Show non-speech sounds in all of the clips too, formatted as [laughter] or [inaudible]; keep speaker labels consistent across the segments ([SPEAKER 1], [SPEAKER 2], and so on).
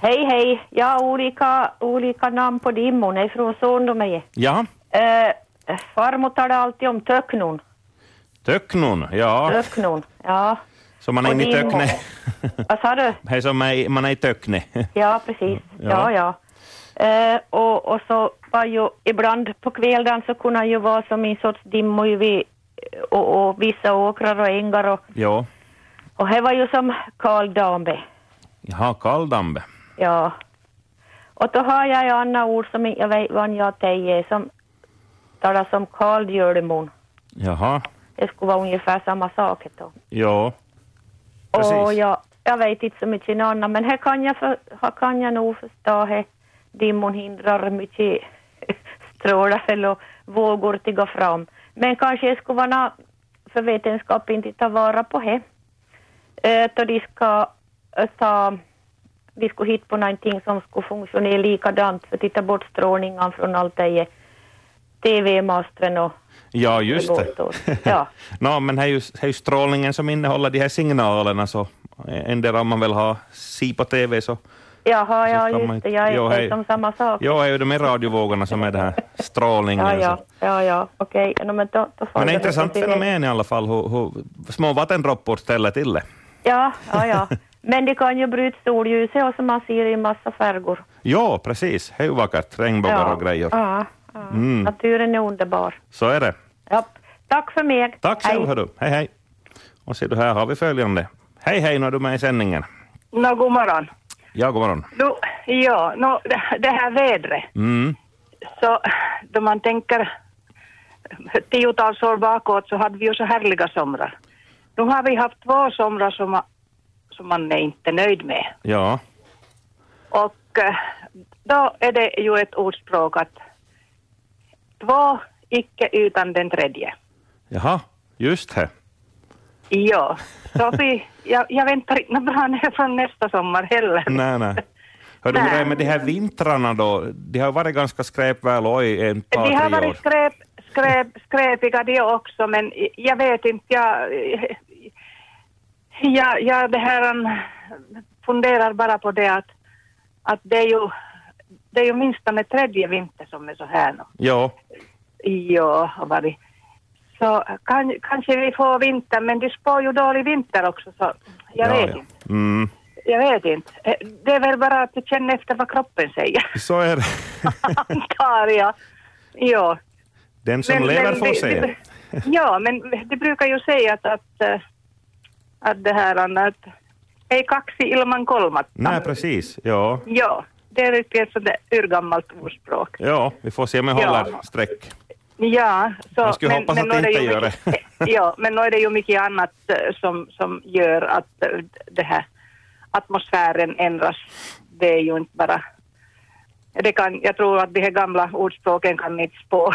[SPEAKER 1] Hej, hej. Jag har olika, olika namn på dimmorna ifrån son de är.
[SPEAKER 2] Ja,
[SPEAKER 1] Eh, farmor talar alltid om töcknon.
[SPEAKER 2] töcknon. Ja,
[SPEAKER 1] Töcknon, ja.
[SPEAKER 2] som man är inne i
[SPEAKER 1] Och dimmor.
[SPEAKER 2] töckne.
[SPEAKER 1] Vad sa du?
[SPEAKER 2] [laughs] Hej, som man är- man är i töckne.
[SPEAKER 1] Ja, precis.
[SPEAKER 2] Ja.
[SPEAKER 1] Ja, ja. Eh, och, och så var ju ibland på kvällen så kunde han ju vara som en sorts dimmor ju vid, och, och vissa åkrar och ängar och,
[SPEAKER 2] [laughs] Ja,
[SPEAKER 1] och här var ju som Karl Dambe.
[SPEAKER 2] jaha, Karl Dambe.
[SPEAKER 1] Ja. Och då har jag ju andra ord som jag vet vad jag säger som talas om Karl
[SPEAKER 2] Jaha,
[SPEAKER 1] Det skulle vara ungefär samma sak då.
[SPEAKER 2] ja.
[SPEAKER 1] Och
[SPEAKER 2] Precis.
[SPEAKER 1] jag, jag vet inte så mycket annat, men här kan jag, för, här kan jag nog förstå här dimmon hindrar mycket [laughs] strålar eller vågor till gå fram. Men kanske jag skulle vara nå- för vetenskap inte ta vara på det. Eh, Då de ska eh, ta, de skulle hitta på någonting som skulle fungera likadant för att titta bort strålningen från allt det här TV-masten och
[SPEAKER 2] Ja, just
[SPEAKER 1] låtor.
[SPEAKER 2] det.
[SPEAKER 1] Ja.
[SPEAKER 2] [laughs] Nå, men det är, ju, det är ju strålningen som innehåller de här signalerna, så endera om man vill ha si på TV så...
[SPEAKER 1] Jaha, ja
[SPEAKER 2] kan man
[SPEAKER 1] just det,
[SPEAKER 2] inte-
[SPEAKER 1] jag
[SPEAKER 2] Jo,
[SPEAKER 1] är
[SPEAKER 2] hej.
[SPEAKER 1] som samma sak.
[SPEAKER 2] Ja, det är ju de här radiovågorna som är den här strålningen.
[SPEAKER 1] Ja,
[SPEAKER 2] så.
[SPEAKER 1] ja, ja, ja. okej. Ja, men, då, då får
[SPEAKER 2] Men det är
[SPEAKER 1] jag
[SPEAKER 2] intressant
[SPEAKER 1] väl-
[SPEAKER 2] fenomen i alla fall, hur, hur små vattendroppor ställer till det.
[SPEAKER 1] Ja,
[SPEAKER 2] [laughs]
[SPEAKER 1] ja, ja. Men det kan ju bryta solljuset och som man ser i massa färger.
[SPEAKER 2] Ja, precis. Det är ju vackert. Regnbågar
[SPEAKER 1] Ja,
[SPEAKER 2] och grejer. Mm.
[SPEAKER 1] ja, ja. Naturen är underbar.
[SPEAKER 2] Så är det.
[SPEAKER 1] Ja. Tack för mig.
[SPEAKER 2] Tack själv, hördu. Hej, hej. Och ser du, här har vi följande. Hej, hej, nu är du med i sändningen.
[SPEAKER 3] Nå, god morgon.
[SPEAKER 2] Ja, god morgon.
[SPEAKER 3] Nå, ja, nå, det- det här vädret.
[SPEAKER 2] Mm.
[SPEAKER 3] Så då man tänker tiotals år bakåt så hade vi ju så härliga somrar. Nu har vi haft två somrar som, ma- som man är inte nöjd med.
[SPEAKER 2] Ja,
[SPEAKER 3] Och eh, då är det ju ett ordspråk att två icke utan den tredje.
[SPEAKER 2] jaha, just det.
[SPEAKER 3] Ja, så vi, jag, jag väntar inte något bra nu från nästa sommar heller.
[SPEAKER 2] Nej, nej. Hördu, hur är det
[SPEAKER 3] Nej.
[SPEAKER 2] med de här vintrarna då? De har varit ganska skräpväl och i en par,
[SPEAKER 3] De har
[SPEAKER 2] tre
[SPEAKER 3] varit
[SPEAKER 2] år.
[SPEAKER 3] skräp, skräp, skräpiga de också, men jag vet inte, jag... Jag, jag det här, um, funderar bara på det att, att det är ju, det är ju minst en tredje vinter som är så här nu.
[SPEAKER 2] Ja,
[SPEAKER 3] Ja, har varit. Så kan, kanske vi får vinter, men de spår ju dålig vinter också, så jag
[SPEAKER 2] ja,
[SPEAKER 3] vet
[SPEAKER 2] ja.
[SPEAKER 3] inte.
[SPEAKER 2] Mm.
[SPEAKER 3] Jag vet inte. Eh, Det är väl bara att känna efter vad kroppen säger, [laughs]
[SPEAKER 2] Så är det.
[SPEAKER 3] antar jag. Ja.
[SPEAKER 2] Den som lever får
[SPEAKER 3] det-
[SPEAKER 2] se.
[SPEAKER 3] det- ja, men det brukar ju säga att, att, eh, att det här Anna, att ei kaksi ilman kolmatta.
[SPEAKER 2] Nej, precis. Ja.
[SPEAKER 3] Ja, det är riktigt ett sånt där urgammalt ordspråk.
[SPEAKER 2] ja, vi får se om jag
[SPEAKER 3] Ja.
[SPEAKER 2] håller streck.
[SPEAKER 3] Ja, så,
[SPEAKER 2] Man skulle hoppas att
[SPEAKER 3] nu är
[SPEAKER 2] det
[SPEAKER 3] ju
[SPEAKER 2] inte gör
[SPEAKER 3] mycket-
[SPEAKER 2] det.
[SPEAKER 3] ja, men nu är det ju mycket annat eh, som, som gör att eh, det här atmosfären ändras. Det är ju inte bara... Det kan, jag tror att de här gamla ordspråken kan inte
[SPEAKER 2] [laughs]
[SPEAKER 3] spå,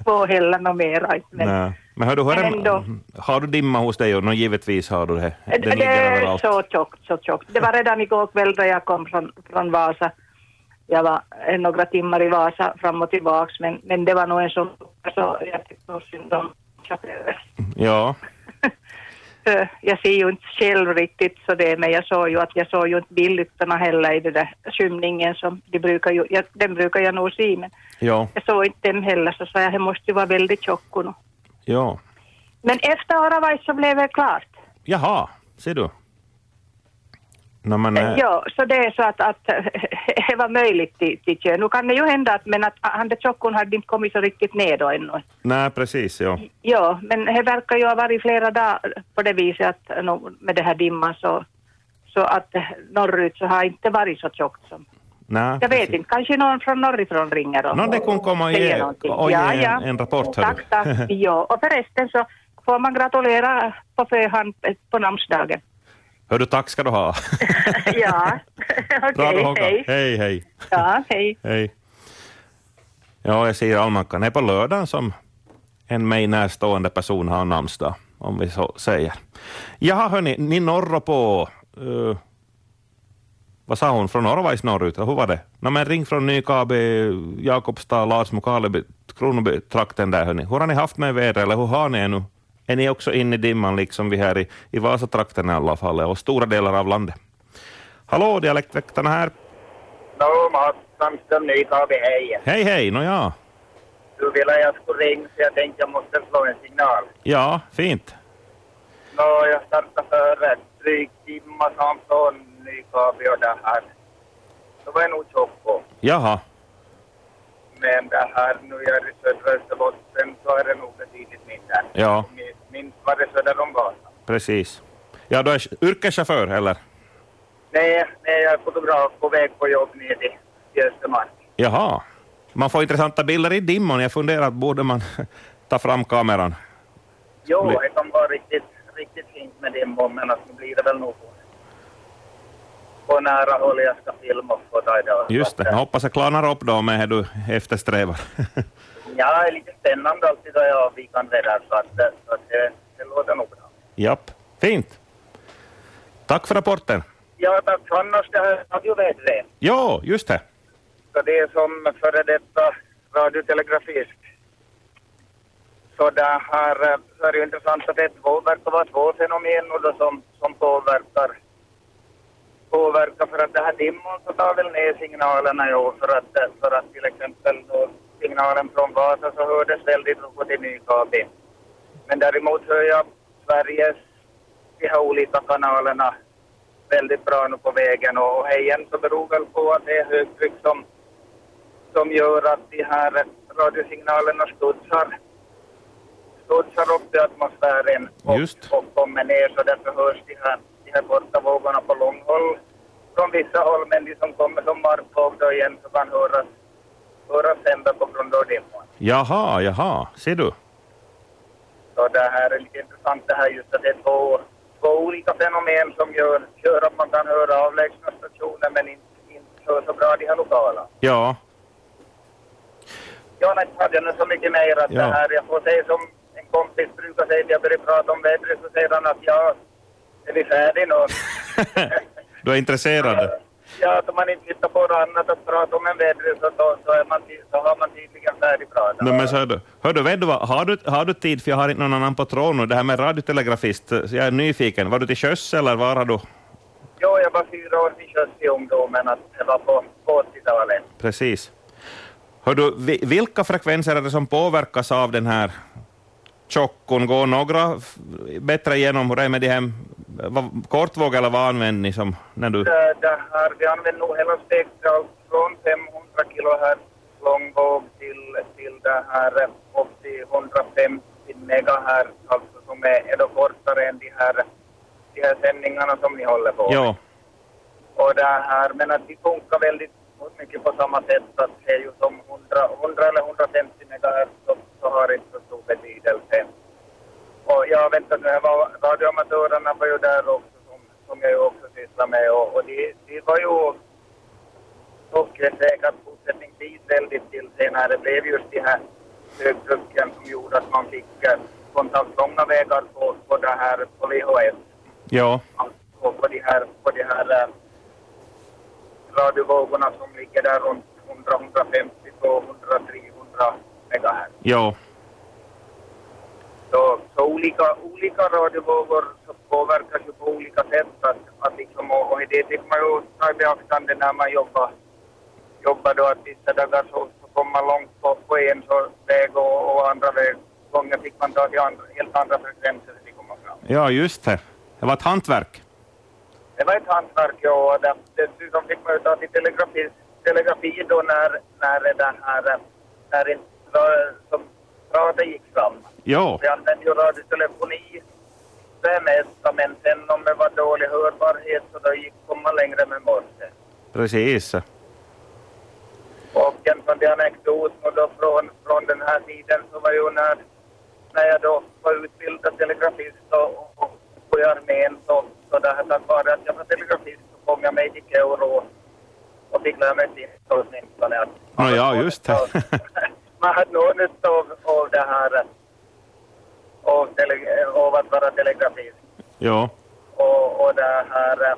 [SPEAKER 3] spå heller något mera. inte, Men,
[SPEAKER 2] [laughs] Nej. Men hör du, hör
[SPEAKER 3] men
[SPEAKER 2] en-
[SPEAKER 3] ändå.
[SPEAKER 2] har du dimma hos dig? Och nå, givetvis har du det. Den
[SPEAKER 3] Det
[SPEAKER 2] ligger
[SPEAKER 3] är
[SPEAKER 2] överallt.
[SPEAKER 3] så tjockt, så tjockt. Det var redan igår kväll då jag kom från, från Vasa. Jag var eh, några timmar i Vasa fram och tillbaks, men, men det var nog en sån så jag tyckte nog synd om chaufförer.
[SPEAKER 2] Ja,
[SPEAKER 3] För Jag ser ju inte själv riktigt så det, men jag såg ju att jag såg ju inte billyttorna heller i den där skymningen som de brukar ju, jag, den brukar jag nog se, men
[SPEAKER 2] ja,
[SPEAKER 3] jag såg inte dem heller så sa jag, det måste ju vara väldigt tjock nu.
[SPEAKER 2] ja.
[SPEAKER 3] Men efter Aravais så blev det klart.
[SPEAKER 2] Jaha, ser du. Nå, men, eh,
[SPEAKER 3] Ja, så det är så att, att [laughs] det var möjligt till, till kön. Nu kan det ju hända att, men att han där tjockon hade inte kommit så riktigt ner då ännu.
[SPEAKER 2] Nej, precis. Ja.
[SPEAKER 3] Ja, men det verkar ju ha varit flera dagar på det viset att no, med det här dimman så, så att norrut så har inte varit så tjockt som.
[SPEAKER 2] Nej,
[SPEAKER 3] Jag vet
[SPEAKER 2] Ah, precis.
[SPEAKER 3] inte, kanske någon från norrifrån ringer och
[SPEAKER 2] Nå, det kunde komma och
[SPEAKER 3] säger
[SPEAKER 2] ge-
[SPEAKER 3] någonting.
[SPEAKER 2] och ge
[SPEAKER 3] ja,
[SPEAKER 2] en-
[SPEAKER 3] ja.
[SPEAKER 2] en rapport, hördu.
[SPEAKER 3] Tack,
[SPEAKER 2] [laughs]
[SPEAKER 3] tack. ja, och förresten så får man gratulera på förhand eh, på
[SPEAKER 2] [laughs]
[SPEAKER 3] namnsdagen.
[SPEAKER 2] Hör du, tack ska du ha.
[SPEAKER 3] ja, [laughs]
[SPEAKER 2] Bra
[SPEAKER 3] okej,
[SPEAKER 2] då, Håkan.
[SPEAKER 3] hej.
[SPEAKER 2] Hej, hej.
[SPEAKER 3] Ja, hej.
[SPEAKER 2] Hej. Ja, jag ser i almanackan. Det är på lördagen som en mig närstående person har namnsdag, om vi så säger. Jaha, hörni, ni norr på... eh, vad sa hon? Från Orvais norrut? Hur var det? Nå, men ring från Nykabi, Jakobstad, Larsmo, Karleby, Kronoby-trakten där, hörni. Hur har ni haft med vädret, eller hur har ni ännu? Är ni också inne i dimman, liksom vi här i, i Vasatrakten i alla fall, och stora delar av landet? Hallå, dialektväktarna här.
[SPEAKER 4] Nå, Mats Sandström Nykabi, hej.
[SPEAKER 2] Hej hej, no ja.
[SPEAKER 4] Du ville jag skulle ringa så jag tänkte jag måste slå en signal.
[SPEAKER 2] Ja, fint.
[SPEAKER 4] Nå, jag startade för en dryg timme sedan från Nykabi och det här. Då var jag nog tjock
[SPEAKER 2] Jaha,
[SPEAKER 4] Men det här nu jag är i södra Österbotten så är det nog betydligt mindre.
[SPEAKER 2] Ja.
[SPEAKER 4] Minst- Minst var det söder om Vasa.
[SPEAKER 2] precis. Ja, du är yrkeschaufför eller?
[SPEAKER 4] Nej, nej, jag är fotograf på väg på jobb nere i- i Östermark.
[SPEAKER 2] Jaha. Man får intressanta bilder i dimman. Jag funderar, borde man [laughs] ta fram kameran?
[SPEAKER 4] Jo,
[SPEAKER 2] Bli-
[SPEAKER 4] det kan vara riktigt, riktigt fint med dimbom, men att nu blir det väl nog på nära håll jag ska filma och fota idag.
[SPEAKER 2] Just det, jag hoppas jag klarnar upp då med det du eftersträvar. [laughs]
[SPEAKER 4] Ja, det är lite spännande alltid då jag har avvikande väder, så, att, eh, så att det, det låter nog bra.
[SPEAKER 2] Japp, fint. Tack för rapporten.
[SPEAKER 4] Ja, tack. Annars det här radiovädret,
[SPEAKER 2] Jo, just det.
[SPEAKER 4] så det är som före detta radiotelegrafist. Så det här eh, så är det ju intressant att det är två, verkar vara två fenomen och då som, som påverkar påverka för att det här dimman så tar väl ner signalerna jo, för att, eh, för att till exempel då signalen från Vasa så hördes väldigt något i Nykabi. Men däremot hör jag Sveriges, de här olika kanalerna väldigt bra nu på vägen och, och här igen så beror väl på att det är högtryck som, som gör att de här radiosignalerna studsar studsar upp i atmosfären och,
[SPEAKER 2] Just.
[SPEAKER 4] och kommer ner så därför hörs de här, de här korta vågorna på långhåll från vissa håll men de som kommer som markvåg då igen så kan höras, höras ända på grund av dimman.
[SPEAKER 2] Jaha, jaha, ser du.
[SPEAKER 4] Så det här är lite intressant det här just att det är två, två olika fenomen som gör, gör att man kan höra avlägsna stationer men inte, inte hör så bra de här lokala.
[SPEAKER 2] Ja,
[SPEAKER 4] Jag har inte hade nu så mycket mer att
[SPEAKER 2] Ja.
[SPEAKER 4] det här, jag får säga som en kompis brukar säga när jag börjar prata om vädret så säger han att ja, är vi färdiga nu?
[SPEAKER 2] [laughs] du är intresserad.
[SPEAKER 4] Ja, att om man inte hittar på något annat att prata om än vädret så, då, så, är man, ty- så har man tydligen färdigpratat.
[SPEAKER 2] Nej, men så hör du, hör du, vet du vad, har du, har du tid, för jag har inte någon annan på tråden nu, det här med radiotelegrafist, så jag är nyfiken. Var du till sjöss eller var har du?
[SPEAKER 4] Jo, jag var fyra år till sjöss i ungdomen, att det var på på 80-talet.
[SPEAKER 2] Precis. Hör du, vi- vilka frekvenser är det som påverkas av den här tjockon? Går några f- bättre igenom? Hur är det med de här vad- kortvåg eller vad använder ni som när du...
[SPEAKER 4] Det, det här, vi använder nog hela spektrat från 500 kilohertz långvåg till, till det här eh, upp till 150 megahertz, alltså som är, är då kortare än de här, de här sändningarna som ni håller på med.
[SPEAKER 2] Jo,
[SPEAKER 4] Och det här, men att vi funkar väldigt mycket på samma sätt att det är ju som 100, 100 eller 150 megahertz så, så har det inte så stor betydelse. Och jag vet att det var radioamatörerna var ju där också som, som jag ju också sysslar med och, och de, de var ju och säkert fortsättningsvis väldigt till senare. Det blev just de här högtrycken som gjorde att man fick eh, kontakt långa vägar på, på det här på VHS
[SPEAKER 2] jo,
[SPEAKER 4] på, på de här, på de här eh, radiovågorna som ligger där runt 100, 150, 200, 300 megahertz.
[SPEAKER 2] jo.
[SPEAKER 4] Så, så olika, olika radiovågor så påverkas ju på olika sätt. Att, att liksom, och, och det fick man ju ta i beaktande när man jobbar. jobbar då att vissa dagar så, så kom man långt på, på en så väg och, och andra väg. gånger fick man ta till andra, helt andra frekvenser för att komma fram.
[SPEAKER 2] Ja, just det. Det var ett hantverk.
[SPEAKER 4] Det var ett hantverk, ja. och det- Dessutom fick man ju ta till telegrafi, telegrafi då när, när den här, när inte ra- som raden gick fram.
[SPEAKER 2] Jo,
[SPEAKER 4] Vi använde ju radiotelefoni det mesta, men sen om det var dålig hörbarhet så då gick man längre med morse.
[SPEAKER 2] precis.
[SPEAKER 4] Och en sån där anekdot och då från, från den här tiden så var ju när, när jag då var utbildad telegrafist och, och, och i armén så, så det här tack vare att jag var telegrafist så kom jag med till Keuro och fick lära mig finska åtminstone. att-
[SPEAKER 2] Nå ja, just det. [laughs]
[SPEAKER 4] man hade nog nytta av, av det här av, tele, av att vara telegrafist
[SPEAKER 2] Jo,
[SPEAKER 4] och, och det här... eh,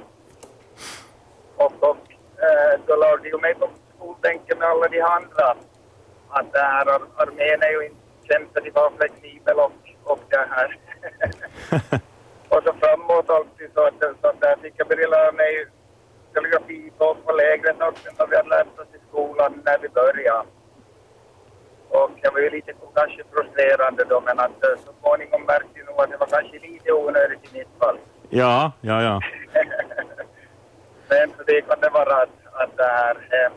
[SPEAKER 4] Och, och eh, då lade ju mig på skolbänken med alla de andra. Att det här ar- armén är ju inte känd för att vara flexibel och, och det här. och så framåt alltid så att, så att där fick jag börja lära mig telegrafi på, på lägret också som vi hade lärt oss i skolan när vi började. Och jag var ju lite kanske frustrerande då men att eh, så småningom märkte jag nog att det var kanske lite onödigt i mitt fall.
[SPEAKER 2] Ja, ja, ja.
[SPEAKER 4] [laughs] Men så det kan det vara att, att det här eh,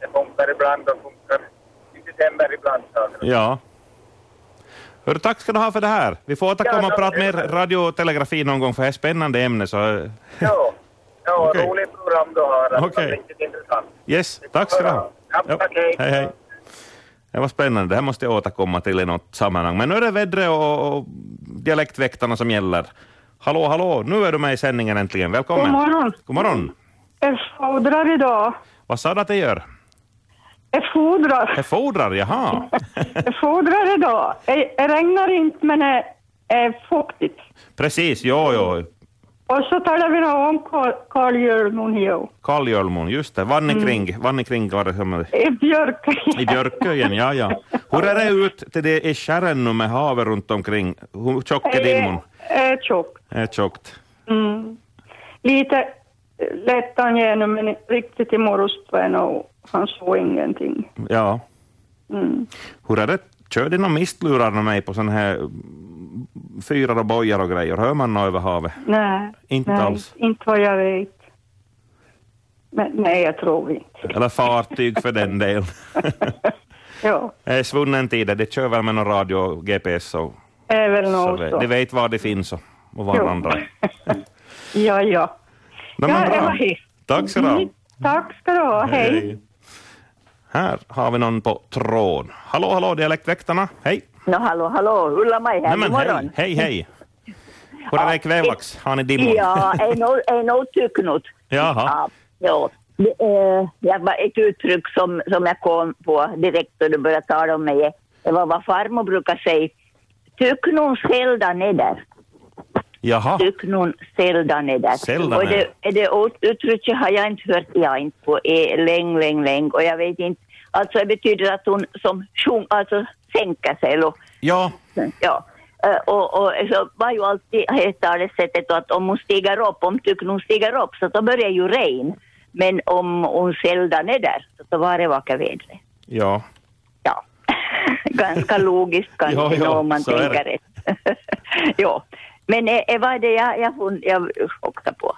[SPEAKER 4] det funkar ibland och funkar lite sämre ibland. Så.
[SPEAKER 2] ja. Hörru, tack ska du ha för det här. Vi får återkomma
[SPEAKER 4] Ja,
[SPEAKER 2] och prata mer
[SPEAKER 4] ja.
[SPEAKER 2] radiotelegrafi någon gång, för det är ett spännande ämne. Så...
[SPEAKER 4] Ja, ja
[SPEAKER 2] Okej.
[SPEAKER 4] roligt program du har. Det var
[SPEAKER 2] Okej.
[SPEAKER 4] Riktigt intressant.
[SPEAKER 2] Yes, tack ska du ha.
[SPEAKER 4] Ja, tack,
[SPEAKER 2] Jo,
[SPEAKER 4] hej.
[SPEAKER 2] hej, hej. Det var spännande. Det här måste jag återkomma till i något sammanhang. Men nu är det vädret och, och dialektväktarna som gäller. Hallå, hallå, nu är du med i sändningen äntligen. Välkommen.
[SPEAKER 5] God morgon.
[SPEAKER 2] God morgon.
[SPEAKER 5] Jag fodrar idag.
[SPEAKER 2] Vad sa du att det gör?
[SPEAKER 5] Jag fodrar.
[SPEAKER 2] Det fodrar, jaha.
[SPEAKER 5] Jag fodrar idag. Jag, jag regnar inte men det är fuktigt.
[SPEAKER 2] Precis, jo, jo.
[SPEAKER 5] Och så talar vi nog om kal- kaljulmon här.
[SPEAKER 2] Kaljölmon, just det. Vann i kring, vann i kring var det som...
[SPEAKER 5] Mm. I björk.
[SPEAKER 2] I Björköjen, ja, ja. Hur är det ut till det i skärren nu med havet runt omkring? Hur tjock är
[SPEAKER 5] Eh.
[SPEAKER 2] dimman?
[SPEAKER 5] Är tjock.
[SPEAKER 2] Det är tjockt.
[SPEAKER 5] Mm. Lite eh, lätt han igenom men inte riktigt i morse var jag nog, han såg ingenting.
[SPEAKER 2] Ja.
[SPEAKER 5] Mm.
[SPEAKER 2] Hur är det, kör de några mistlurar med mig på sån här mm, fyrar och bojar och grejer? Hör man något över havet?
[SPEAKER 5] Nej.
[SPEAKER 2] Inte
[SPEAKER 5] nej,
[SPEAKER 2] alls.
[SPEAKER 5] Inte vad jag vet. Men, nej, jag tror inte.
[SPEAKER 2] Eller fartyg för den delen.
[SPEAKER 5] [laughs] Ja,
[SPEAKER 2] Det är svunnen tid, det kör väl med någon radio och GPS och
[SPEAKER 5] det är väl
[SPEAKER 2] så.
[SPEAKER 5] något
[SPEAKER 2] vet-
[SPEAKER 5] så.
[SPEAKER 2] De vet var det finns och, och
[SPEAKER 5] Jo.
[SPEAKER 2] varandra.
[SPEAKER 5] Ja, ja.
[SPEAKER 2] Nej, men
[SPEAKER 5] ja, det
[SPEAKER 2] bra.
[SPEAKER 5] var hit.
[SPEAKER 2] Tack ska du ha.
[SPEAKER 5] Mm, Tack ska du ha. Hej.
[SPEAKER 2] Här har vi någon på tråd. Hallå, hallå, dialektväktarna. Hej.
[SPEAKER 6] No hallå, hallå, Ulla-Maj här,
[SPEAKER 2] Nej, men
[SPEAKER 6] godmorgon.
[SPEAKER 2] hej, hej, hej. Hur är det i kvävax? Har ni dimmor?
[SPEAKER 6] Ja,
[SPEAKER 2] [laughs]
[SPEAKER 6] en och- en otycknot.
[SPEAKER 2] Jaha.
[SPEAKER 6] Ja, ja. Det, eh, det var ett uttryck som, som jag kom på direkt då du började tala om mig. Det var vad farmor brukar säga. Tycknons sälda neder.
[SPEAKER 2] Jaha.
[SPEAKER 5] Typ
[SPEAKER 6] Tycknon sälda neder.
[SPEAKER 2] Sälda
[SPEAKER 6] Och det,
[SPEAKER 2] neder.
[SPEAKER 6] det ut- uttrycket har jag inte hört jag inte på eh, länge, länge, länge. Och jag vet inte. Alltså det betyder att hon som sjung, alltså sänker sig. Eller,
[SPEAKER 2] Ja,
[SPEAKER 6] Ja. Eh, Och, och så var ju alltid heter det sättet att om hon stiger upp, om tycker hon stiger upp så då börjar ju regn. Men om hon sällan är där så då var det vackert väder.
[SPEAKER 2] ja.
[SPEAKER 6] Ja. Ganska logiskt kanske
[SPEAKER 2] Ja, ja,
[SPEAKER 6] om man
[SPEAKER 2] så är
[SPEAKER 6] tänker
[SPEAKER 2] det.
[SPEAKER 6] rätt. [laughs] ja. Men eh, eh, vad är det jag, jag, fun- jag åkte på?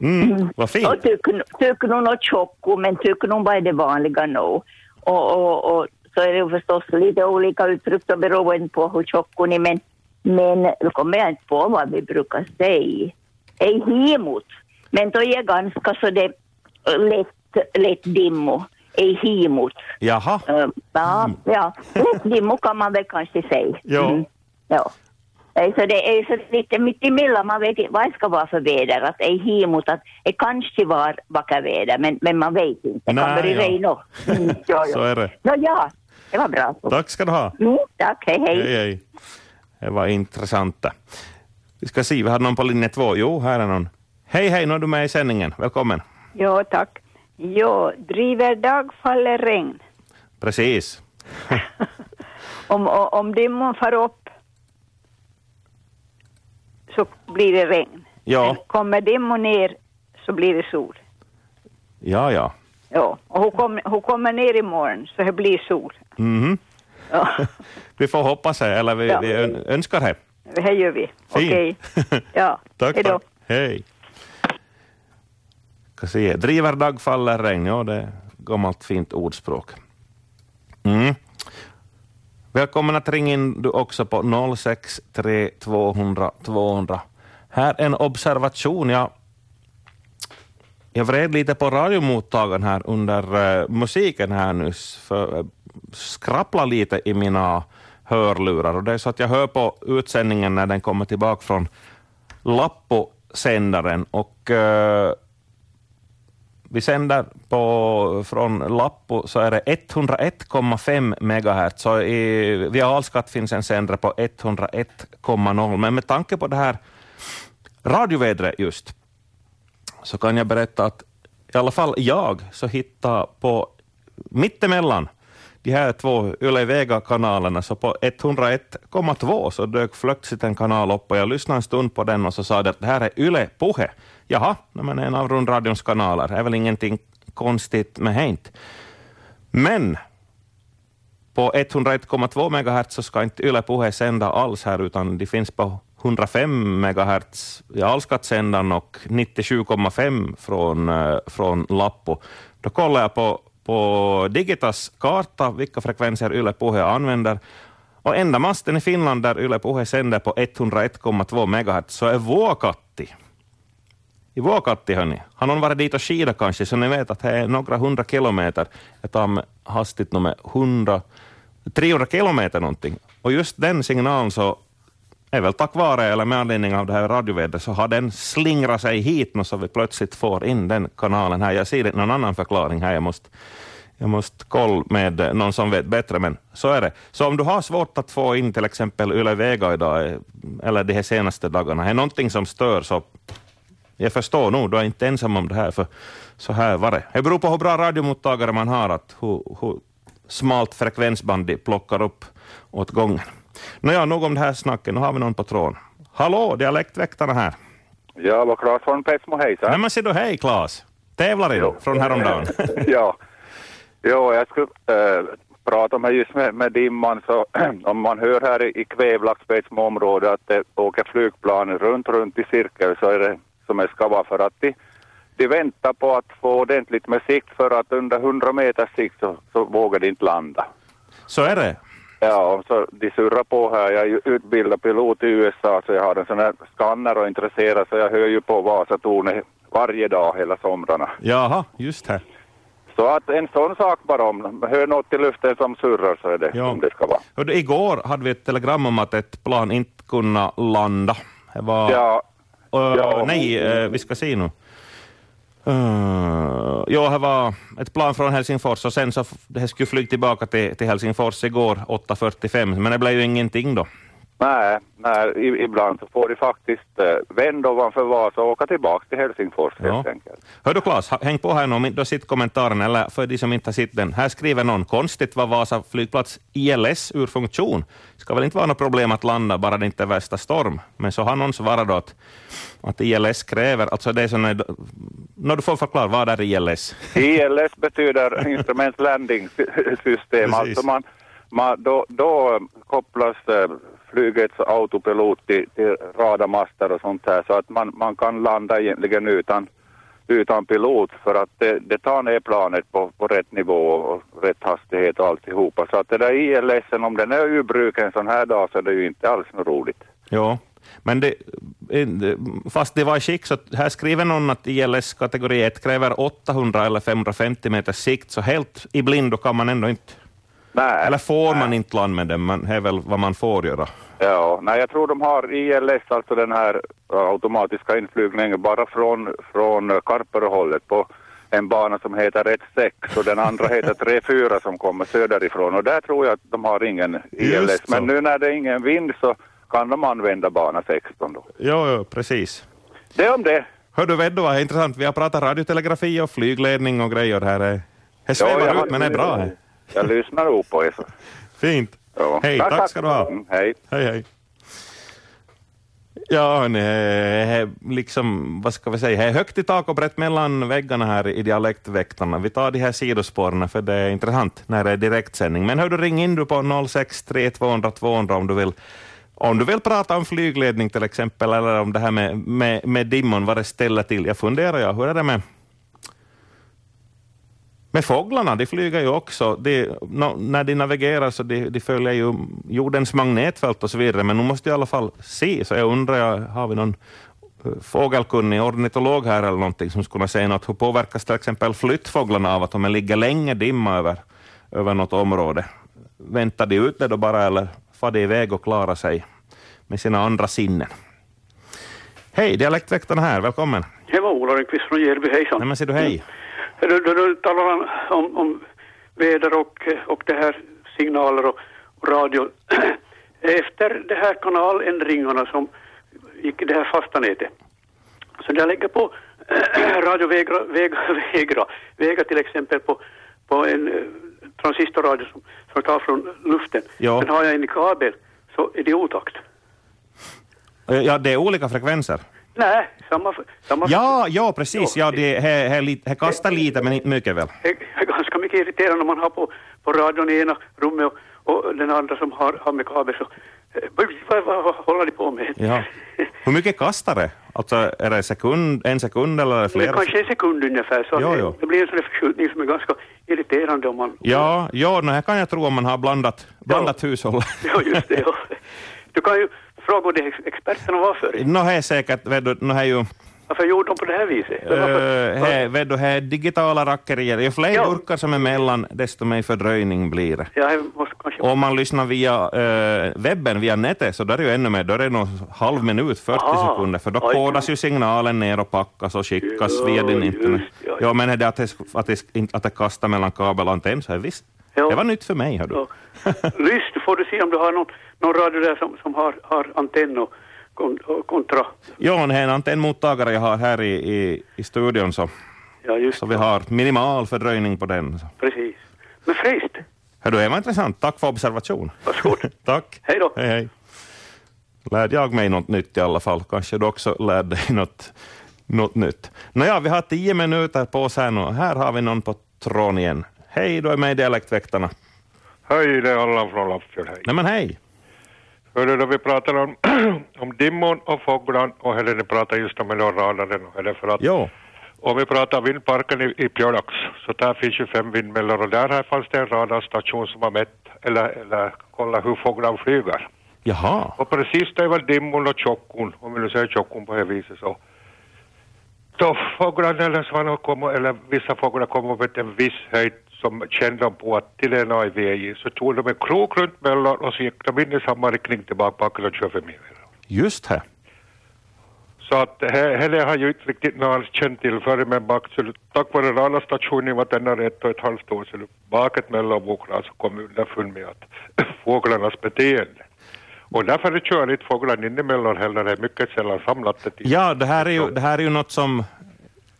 [SPEAKER 2] Mm, vad fint.
[SPEAKER 6] Och tycker, tycker hon något tjocko, men tycker hon vad är det vanliga nu? Och, och, och så är det ju förstås lite olika uttryck då beroende på hur tjock hon är, men, men då kommer jag inte på vad vi brukar säga. Ej himot, men då är jag ganska så det lätt, lätt dimmo. Ej himot.
[SPEAKER 2] Jaha. Mm.
[SPEAKER 6] Eh, Ja, ja. lätt dimmo kan man väl kanske säga.
[SPEAKER 2] Ja.
[SPEAKER 6] Mm. ja. Eh, Så det är så lite mittemellan, man vet inte vad det ska vara för väder. Att ej himot, att det kanske var vackert väder, men, men man vet inte. Det kan
[SPEAKER 2] Nej,
[SPEAKER 6] börja
[SPEAKER 2] ja.
[SPEAKER 6] regna. Mm, ja,
[SPEAKER 2] Så är det.
[SPEAKER 6] Ja, ja, det var bra.
[SPEAKER 2] Tack ska du ha.
[SPEAKER 6] Mm, tack, hej, hej.
[SPEAKER 2] Hej, hej. Det var intressant. det. Vi ska se, vi hade någon på linje två. Jo, här är någon. Hej, hej, nu är du med i sändningen. Välkommen.
[SPEAKER 5] Ja, tack. Ja, driver dag faller regn.
[SPEAKER 2] Precis.
[SPEAKER 5] Om, o- om dimman far upp så blir det regn.
[SPEAKER 2] Ja,
[SPEAKER 5] Kommer dimman ner så blir det sol.
[SPEAKER 2] ja, ja.
[SPEAKER 5] Ja, och hon, kom, hon kommer ner imorgon så det blir sol.
[SPEAKER 2] Mhm.
[SPEAKER 5] Ja,
[SPEAKER 2] [laughs] Vi får hoppas det, eller vi,
[SPEAKER 5] Ja.
[SPEAKER 2] vi ön- önskar det.
[SPEAKER 5] det här gör vi. Okej.
[SPEAKER 2] Fint. [laughs]
[SPEAKER 5] Ja,
[SPEAKER 2] Tack,
[SPEAKER 5] hej då.
[SPEAKER 2] tack. Hej. Ska se. Driver dag faller regn. Ja, det är gammalt fint ordspråk. Mm. Välkommen att ringa in du också på 063 200 200. Här en observation. Jag, jag vred lite på radiomottagaren här under eh, musiken här nyss. För, uh, skrappla lite i mina hörlurar. Och det är så att jag hör på utsändningen när den kommer tillbaka från Lappo-sändaren och eh, vi sänder på, från Lappo så är det 101,5 megahertz. Så i, via Alskatt finns en sändare på 101,0. Men med tanke på det här radiovädret just, så kan jag berätta att i alla fall jag så hittade på mittemellan de här två Yle Vega-kanalerna, så på 101,2 så dök plötsligt en kanal upp och jag lyssnade en stund på den och så sa det att det här är Yle Puhe. Jaha, nej, men en av rundradions kanaler, det är väl ingenting konstigt med hent. Men på 101,2 megahertz så ska inte Yle Puhe sända alls här, utan de finns på 105 megahertz i Allskattsändaren och 97,5 från, eh, från Lappo. Då kollar jag på, på Digitas karta vilka frekvenser Yle Puhe använder. Och enda masten i Finland där Yle Puhe sänder på 101,2 megahertz så är Vuokatti. I Vuokatti, hörni. Har någon varit dit och skida kanske, så ni vet att det är några hundra kilometer. Jag tar mig hastigt nummer 100, 300 kilometer någonting. Och just den signalen så är väl tack vare, eller med anledning av det här radiovädret, så har den slingrat sig hit nu så vi plötsligt får in den kanalen här. Jag ser inte någon annan förklaring här. Jag måste, jag måste kolla med någon som vet bättre, men så är det. Så om du har svårt att få in till exempel Yle Vega idag, eh, eller de här senaste dagarna, är någonting som stör så jag förstår nog, du är inte ensam om det här, för så här var det. Det beror på hur bra radiomottagare man har, att hur, hur smalt frekvensband de plockar upp åt gången. Nåja, nog om det här snacket. Nu har vi någon på tråden. Hallå, dialektväktarna här.
[SPEAKER 7] Ja, vad Claes från Petsmo, hejsan.
[SPEAKER 2] Nej men se då, hej Claes. Tävlar du från
[SPEAKER 7] [laughs]
[SPEAKER 2] häromdagen?
[SPEAKER 7] ja. Jo, jag skulle äh, prata om här just med, med dimman, så [clears throat] om man hör här i, i Kvävlaxbetsmo område att det åker flygplan runt, runt i cirkel så är det som är skava för att de, de väntar på att få ordentligt med sikt för att under 100 meters sikt så, så vågar de inte landa.
[SPEAKER 2] så är det.
[SPEAKER 7] Ja, så de surrar på här. Jag är ju utbildad pilot i USA så jag har en sån här skanner och intresserad så jag hör ju på Vasatornet varje dag hela somrarna.
[SPEAKER 2] Jaha, just här.
[SPEAKER 7] Så att en sån sak bara om, hör något i luften som surrar så är det
[SPEAKER 2] Ja.
[SPEAKER 7] som det ska vara.
[SPEAKER 2] Hörde, igår hade vi ett telegram om att ett plan inte kunde landa. Det var...
[SPEAKER 7] Ja,
[SPEAKER 2] Ö,
[SPEAKER 7] Ja.
[SPEAKER 2] Nej, eh, vi ska se nu. Uh, jo, här var ett plan från Helsingfors och sen så f- det här skulle flyga tillbaka till, till Helsingfors igår 8.45, men det blev ju ingenting då.
[SPEAKER 7] nej, nej, i- ibland så får de faktiskt eh, vända ovanför Vasa och åka tillbaka till Helsingfors helt
[SPEAKER 2] Ja.
[SPEAKER 7] enkelt.
[SPEAKER 2] Hör du Claes, ha- häng på här nu om inte du har sett kommentaren, eller för de som inte har sett den. Här skriver någon, konstigt var Vasa flygplats ILS ur funktion. Ska väl inte vara något problem att landa, bara det inte är värsta storm. Men så har någon svarat då att, att ILS kräver, alltså det är sån här, när du får förklara, vad är ILS?
[SPEAKER 7] ILS E betyder Instrument Landing Sy- System,
[SPEAKER 2] Precis.
[SPEAKER 7] alltså man, man, då, då kopplas eh, flygets autopilot till, till radarmaster och sånt här så att man, man kan landa egentligen utan, utan pilot för att det, det tar ner planet på, på rätt nivå och rätt hastighet och alltihopa. Så att det där ILS, en, om den är ur bruk en sån här dag så är det ju inte alls något roligt.
[SPEAKER 2] Ja, men det, en- fast det var i skick, så här skriver någon att ILS kategori 1 kräver 800 eller 550 meters sikt, så helt i blindo kan man ändå inte,
[SPEAKER 7] Nej.
[SPEAKER 2] eller får man inte land med den, men det är väl vad man får göra.
[SPEAKER 7] Ja, nej jag tror de har ILS, alltså den här eh, automatiska inflygningen, bara från, från eh, Karperehållet på en bana som heter 1-6 och den
[SPEAKER 2] [laughs]
[SPEAKER 7] andra heter 3-4 som kommer söderifrån och där tror jag att de har ingen ILS.
[SPEAKER 2] Just så.
[SPEAKER 7] Men nu när det är ingen vind så kan de använda bana 16 då.
[SPEAKER 2] Jo, jo precis.
[SPEAKER 7] Det om det.
[SPEAKER 2] Hör du, Veddo, vad intressant. Vi har pratat radiotelegrafi och flygledning och grejer här. är- Det
[SPEAKER 7] Ja,
[SPEAKER 2] svävar
[SPEAKER 7] jag-
[SPEAKER 2] ut, men det är bra. här.
[SPEAKER 7] Jag lyssnar nog på er. så.
[SPEAKER 2] Fint.
[SPEAKER 7] Ja.
[SPEAKER 2] Hej, tack ska du ha.
[SPEAKER 7] Mm, Hej.
[SPEAKER 2] Hej, hej. Ja, nej, liksom, vad ska vi säga, det är högt i tak och brett mellan väggarna här i dialektväktarna. Vi tar de här sidospåren för det är intressant när det är direktsändning. Men hör du, ring in du på 063 200 200 om du vill om du vill prata om flygledning till exempel, eller om det här med, med, med dimmon, vad det ställer till. Jag funderar, ja, hur är det med, men fåglarna, de flyger ju också. De, nå- när de navigerar så de, de följer ju jordens magnetfält och så vidare, men nu måste jag i alla fall se, så jag undrar, jag, har vi någon eh, fågelkunnig ornitolog här eller någonting som skulle kunna säga något? Hur påverkas till exempel flyttfåglarna av att de ligger länge dimma över, över något område? Väntar de ute då bara eller far de iväg och klarar sig med sina andra sinnen? Hej, dialektväktarna här, välkommen.
[SPEAKER 8] Det var Ola Rönnqvist från Hjällby, hejsan.
[SPEAKER 2] Nej, men ser du, hej.
[SPEAKER 8] Du, du, du talar om, om, om väder och, och det här signaler och, och radio. [clears throat] Efter det här kanaländringarna som gick i det här fasta nätet, så jag lägger på [clears throat] radio Vegra, Vegra, Vegra, Vega till exempel på, på en eh, trans, sista radion som, som tar från luften.
[SPEAKER 2] Ja.
[SPEAKER 8] Men har jag en kabel så är det otakt.
[SPEAKER 2] Ja, det är olika frekvenser.
[SPEAKER 8] Nej, samma... samma
[SPEAKER 2] Ja, ja precis. Ja, det här, här, lit- här kastar lite, men inte mycket väl.
[SPEAKER 8] Det är ganska mycket irriterande om man har på, på radion i ena rummet och, och den andra som har, har med kabel så... eh, Vad, vad, vad håller ni på med?
[SPEAKER 2] Ja. Hur mycket kastar det? Alltså, är det sekund, en sekund eller är det
[SPEAKER 8] Det är
[SPEAKER 2] flera?
[SPEAKER 8] kanske en sekund ungefär så
[SPEAKER 2] Ja,
[SPEAKER 8] det-
[SPEAKER 2] ja.
[SPEAKER 8] det blir en sån där förskjutning som är ganska irriterande om man... [laughs]
[SPEAKER 2] Ja, ja no, här kan jag tro om man har blandat, blandat hushåll.
[SPEAKER 8] Ja, just det. Ja. Du kan ju fråga de ex- experterna
[SPEAKER 2] [laughs]
[SPEAKER 8] varför.
[SPEAKER 2] Nå, här är säkert, vet du, nå, här är ju...
[SPEAKER 8] Varför gjorde de på det här viset? [laughs]
[SPEAKER 2] Uh, här, vet du, här är digitala rackerier. Ju fler burkar som är mellan, desto mer fördröjning blir det.
[SPEAKER 8] Ja, jag måste kanske...
[SPEAKER 2] Om man lyssnar via eh, webben, via nätet, så där är ju ännu mer, då är det nog halv minut, 40
[SPEAKER 8] Aha.
[SPEAKER 2] sekunder, för då
[SPEAKER 8] Oj.
[SPEAKER 2] kodas ju signalen ner och packas och skickas
[SPEAKER 8] Ja,
[SPEAKER 2] via din
[SPEAKER 8] just,
[SPEAKER 2] internet.
[SPEAKER 8] ja, ja.
[SPEAKER 2] Ja, men är det att det, att det, att det kastar mellan kabel och antenn, så är visst.
[SPEAKER 8] Ja.
[SPEAKER 2] Det var nytt för mig, hör du.
[SPEAKER 8] Ja. Lyssna får du se om du har någon, någon radio där som, som har, har antenn och, kon, och kontra.
[SPEAKER 2] Ja, och det är en antennmottagare jag har här i, i, i studion, så,
[SPEAKER 8] Ja, just
[SPEAKER 2] så vi har minimal fördröjning på den. Så.
[SPEAKER 8] precis. Men fräst,
[SPEAKER 2] Hör du, det var intressant. Tack för observation.
[SPEAKER 8] varsågod.
[SPEAKER 2] [laughs] Tack.
[SPEAKER 8] Hej då.
[SPEAKER 2] Hej, hej. Lärde jag mig något nytt i alla fall. Kanske du också lärde dig något, något nytt. Nåja, vi har tio minuter på oss här nu. Här har vi någon på tråden igen. Hej, du är med i Dialektväktarna.
[SPEAKER 9] Hej, det är Allan från Lappfjäll. Hej.
[SPEAKER 2] Nej men hej.
[SPEAKER 9] Hörru, då vi pratar [clears throat] om, om dimmon och fåglarna och Helene ni pratar just om radaren och eller för att
[SPEAKER 2] Jo.
[SPEAKER 9] om vi pratar vindparken i, i Pjolax så där finns ju fem vindmöllor och där här fanns det en radarstation som har mätt eller, eller kollat hur fåglarna flyger.
[SPEAKER 2] Jaha.
[SPEAKER 9] Och precis det var dimmon och tjockon, om vi nu säger tjockon på det här viset så. Då fåglarna eller svanarna kommer, eller vissa fåglar kommer upp till en viss höjd som kände de på att till en är vi i. Så tog de en krok runt möllan och så gick de in i samma riktning till bakbacken och körde förbi.
[SPEAKER 2] Just det.
[SPEAKER 9] Så att he- heller har jag inte riktigt någon känt till förr men bak, så tack vare radarstationen var denna för ett och ett halvt år sedan baket mellan våglarna så kom vi underfund med [coughs] att fåglarnas beteende. Och därför kör inte fåglarna in emellan heller, det är mycket sällan samlat det till.
[SPEAKER 2] Ja, det här är ju, det här är ju något som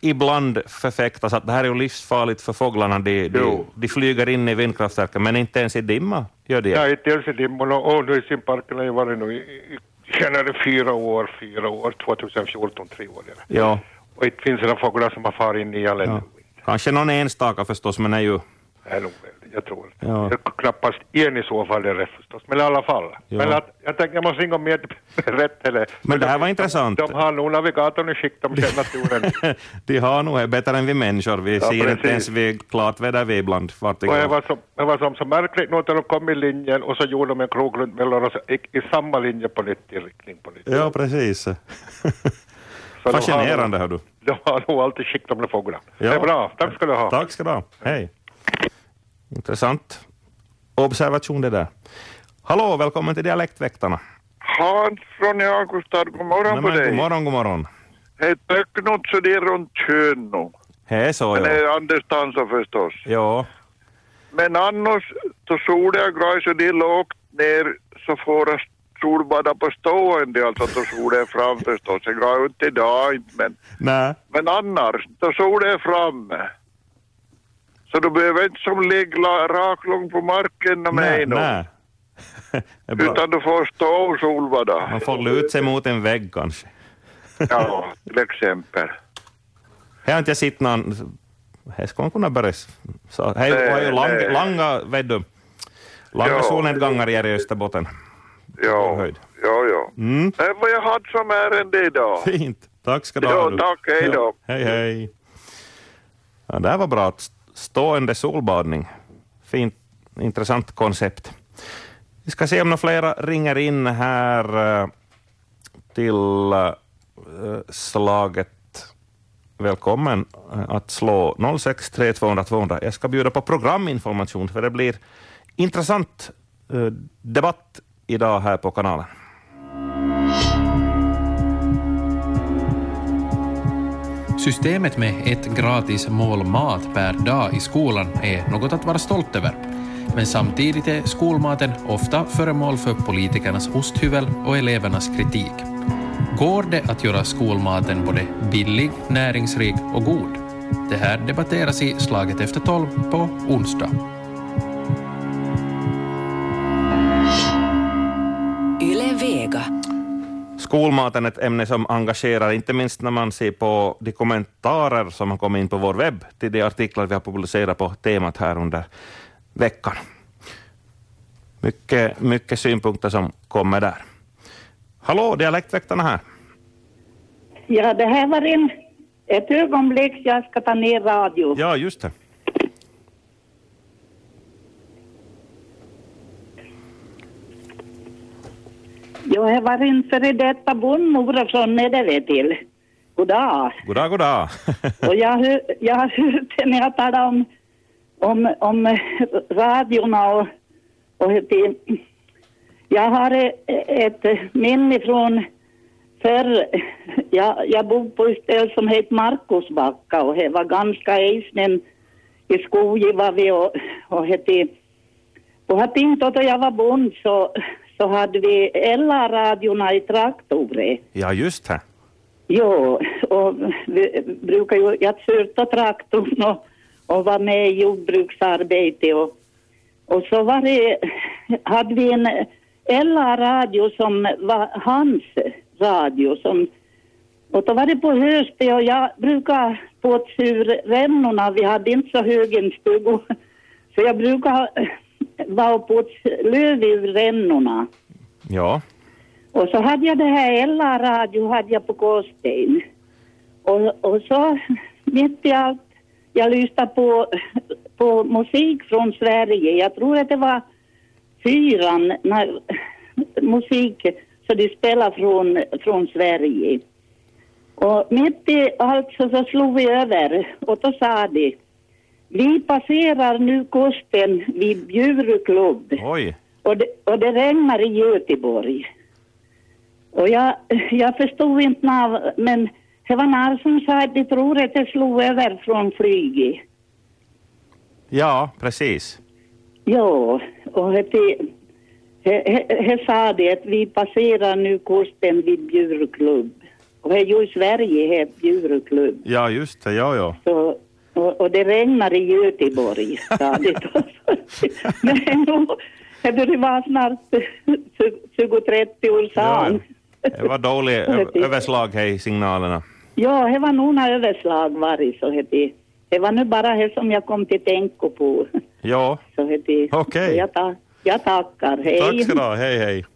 [SPEAKER 2] ibland förfäktas att det här är ju livsfarligt för fåglarna. De, de,
[SPEAKER 9] Jo.
[SPEAKER 2] de flyger in i vindkraftverken, men inte ens i dimma gör de
[SPEAKER 9] Ja, inte ens i dimmorna. Och nu i simparken har jag varit nu i, i, i fyra år, fyra år, 2014, tre år. eller.
[SPEAKER 2] Ja,
[SPEAKER 9] Och inte finns det några fåglar som har farit in i elen.
[SPEAKER 2] Ja. kanske någon enstaka förstås, men är ju...
[SPEAKER 9] Det är nog väl, jag tror.
[SPEAKER 2] Ja.
[SPEAKER 9] Det är knappast en i så fall det är rätt förstås, men i alla fall.
[SPEAKER 2] Ja.
[SPEAKER 9] Men att, jag tänker, jag måste ringa [laughs] med rätt eller...
[SPEAKER 2] Men det här var intressant.
[SPEAKER 9] De har nog navigatorn i skick,
[SPEAKER 2] [laughs]
[SPEAKER 9] de känner naturen.
[SPEAKER 2] De har nog är bättre än vi människor. Vi ser inte
[SPEAKER 9] precis.
[SPEAKER 2] ens vid klart väder vi ibland vart det
[SPEAKER 9] och det
[SPEAKER 2] går.
[SPEAKER 9] var, så, det var som så märkligt nog när de kom i linjen och så gjorde de en krog runt mellan och så gick i samma linje på nytt, i riktning på nytt.
[SPEAKER 2] Ja, precis.
[SPEAKER 9] Så de har-
[SPEAKER 2] Fascinerande, hör du.
[SPEAKER 9] De har nog alltid skick de där fåglarna.
[SPEAKER 2] Ja.
[SPEAKER 9] Det är bra, tack ska du ha.
[SPEAKER 2] Tack ska du ha. Hej. Intressant observation det där. Hallå, välkommen till Dialektväktarna.
[SPEAKER 10] Hans från i Augusta, god morgon
[SPEAKER 2] Nej,
[SPEAKER 10] på
[SPEAKER 2] men
[SPEAKER 10] dig.
[SPEAKER 2] god morgon, god morgon.
[SPEAKER 10] Hej, Töcknot så det är runt kön nu.
[SPEAKER 2] Hej så,
[SPEAKER 10] Men det
[SPEAKER 2] ja.
[SPEAKER 10] är Anders Tansa förstås.
[SPEAKER 2] Ja,
[SPEAKER 10] Men annars, då solen grej så det är lågt ner så får jag solbada på stående, alltså då solen är fram förstås. Jag grej inte idag inte, men,
[SPEAKER 2] nej.
[SPEAKER 10] men annars, då solen är framme. Så du behöver inte som ligga raklång på marken med mig
[SPEAKER 2] Nej,
[SPEAKER 10] nu.
[SPEAKER 2] nej. [laughs] Det är bra.
[SPEAKER 10] Utan du får stå och solbada.
[SPEAKER 2] Man får luta sig mot en vägg kanske.
[SPEAKER 10] Ja, till exempel.
[SPEAKER 2] Här har inte jag sett någon... Här skulle man kunna börja... s- Så, här
[SPEAKER 10] Nej,
[SPEAKER 2] var ju långa,
[SPEAKER 10] nej.
[SPEAKER 2] långa, vet du, långa
[SPEAKER 10] Ja.
[SPEAKER 2] solnedgångar här i Österbotten.
[SPEAKER 10] Ja,
[SPEAKER 2] höjd.
[SPEAKER 10] ja, ja.
[SPEAKER 2] Mm.
[SPEAKER 10] Det är Eh, vad jag hade som ärende idag.
[SPEAKER 2] Fint. Tack ska du
[SPEAKER 10] Ja,
[SPEAKER 2] du.
[SPEAKER 10] tack, hej då.
[SPEAKER 2] Ja, hej, hej. Ja, det här var bra. St- Stående solbadning. Fint, intressant koncept. Vi ska se om några flera ringer in här eh, till eh, slaget. Välkommen eh, att slå 063 200 200. Jag ska bjuda på programinformation, för det blir intressant eh, debatt idag här på kanalen.
[SPEAKER 11] Systemet med ett gratis mål mat per dag i skolan är något att vara stolt över. Men samtidigt är skolmaten ofta föremål för politikernas osthyvel och elevernas kritik. Går det att göra skolmaten både billig, näringsrik och god? Det här debatteras i Slaget efter tolv på onsdag.
[SPEAKER 12] väga.
[SPEAKER 2] Skolmaten är ett ämne som engagerar, inte minst när man ser på de kommentarer som har kommit in på vår webb till de artiklar vi har publicerat på temat här under veckan. Mycket, mycket synpunkter som kommer där. Hallå, dialektväktarna här.
[SPEAKER 13] Ja, det här var en... Ett ögonblick, jag ska ta ner radio.
[SPEAKER 2] Ja, just det.
[SPEAKER 13] Jag har varit en före detta bondmora från Nederve till. Goddag.
[SPEAKER 2] Goddag, goddag.
[SPEAKER 13] Och jag, hör, jag har hört när jag talar om, om, om eh, radiorna och, och det. Jag har eh, ett minne från förr. Jag, jag bodde på ett ställe som hette Markusbacka och det var ganska isnen i skogen var vi och, och hette och har tänkt att då jag var bond så, så hade vi alla radiorna i traktorer.
[SPEAKER 2] Ja, just det.
[SPEAKER 13] Jo, och vi brukar ju, jag körde traktorn och, och var med i jordbruksarbete och, och så var det, hade vi en LA-radio som var hans radio som, och då var det på hösten och jag brukar på surremnorna, vi hade inte så hög en stuga, så jag brukar vara på löv ur rännorna.
[SPEAKER 2] Ja.
[SPEAKER 13] Och så hade jag det här Ella radio hade jag på Gårdsten. Och, och så mitt i allt, jag lyssnade på, på musik från Sverige. Jag tror att det var fyran när, musik så de spelade från, från Sverige. Och mitt i allt så, så slog vi över och då sa de vi passerar nu kusten vid Bjuruklubb
[SPEAKER 2] Oj.
[SPEAKER 13] och det, och det regnar i Göteborg. Och jag, jag förstod inte när, men det var när som sa att de tror att det slog över från flyget.
[SPEAKER 2] Ja, precis.
[SPEAKER 13] Ja, och det, det, det, det sa det att vi passerar nu kusten vid Bjuruklubb. Och det är ju i Sverige, det är Bjuruklubb.
[SPEAKER 2] Ja, just det. Ja, ja.
[SPEAKER 13] Så, och, och det regnar i Göteborg, sa det då. [laughs] Men nu, det var snart 20-30 år sedan.
[SPEAKER 2] Det var dålig ö- överslag här i signalerna.
[SPEAKER 13] Ja, det var nog några överslag varit, så hette det. Det var nu bara det som jag kom till tänka på, [laughs]
[SPEAKER 2] Ja,
[SPEAKER 13] så hette det.
[SPEAKER 2] Okej.
[SPEAKER 13] Så Jag, ta, jag tackar, hej.
[SPEAKER 2] tack ska du ha. Hej, hej.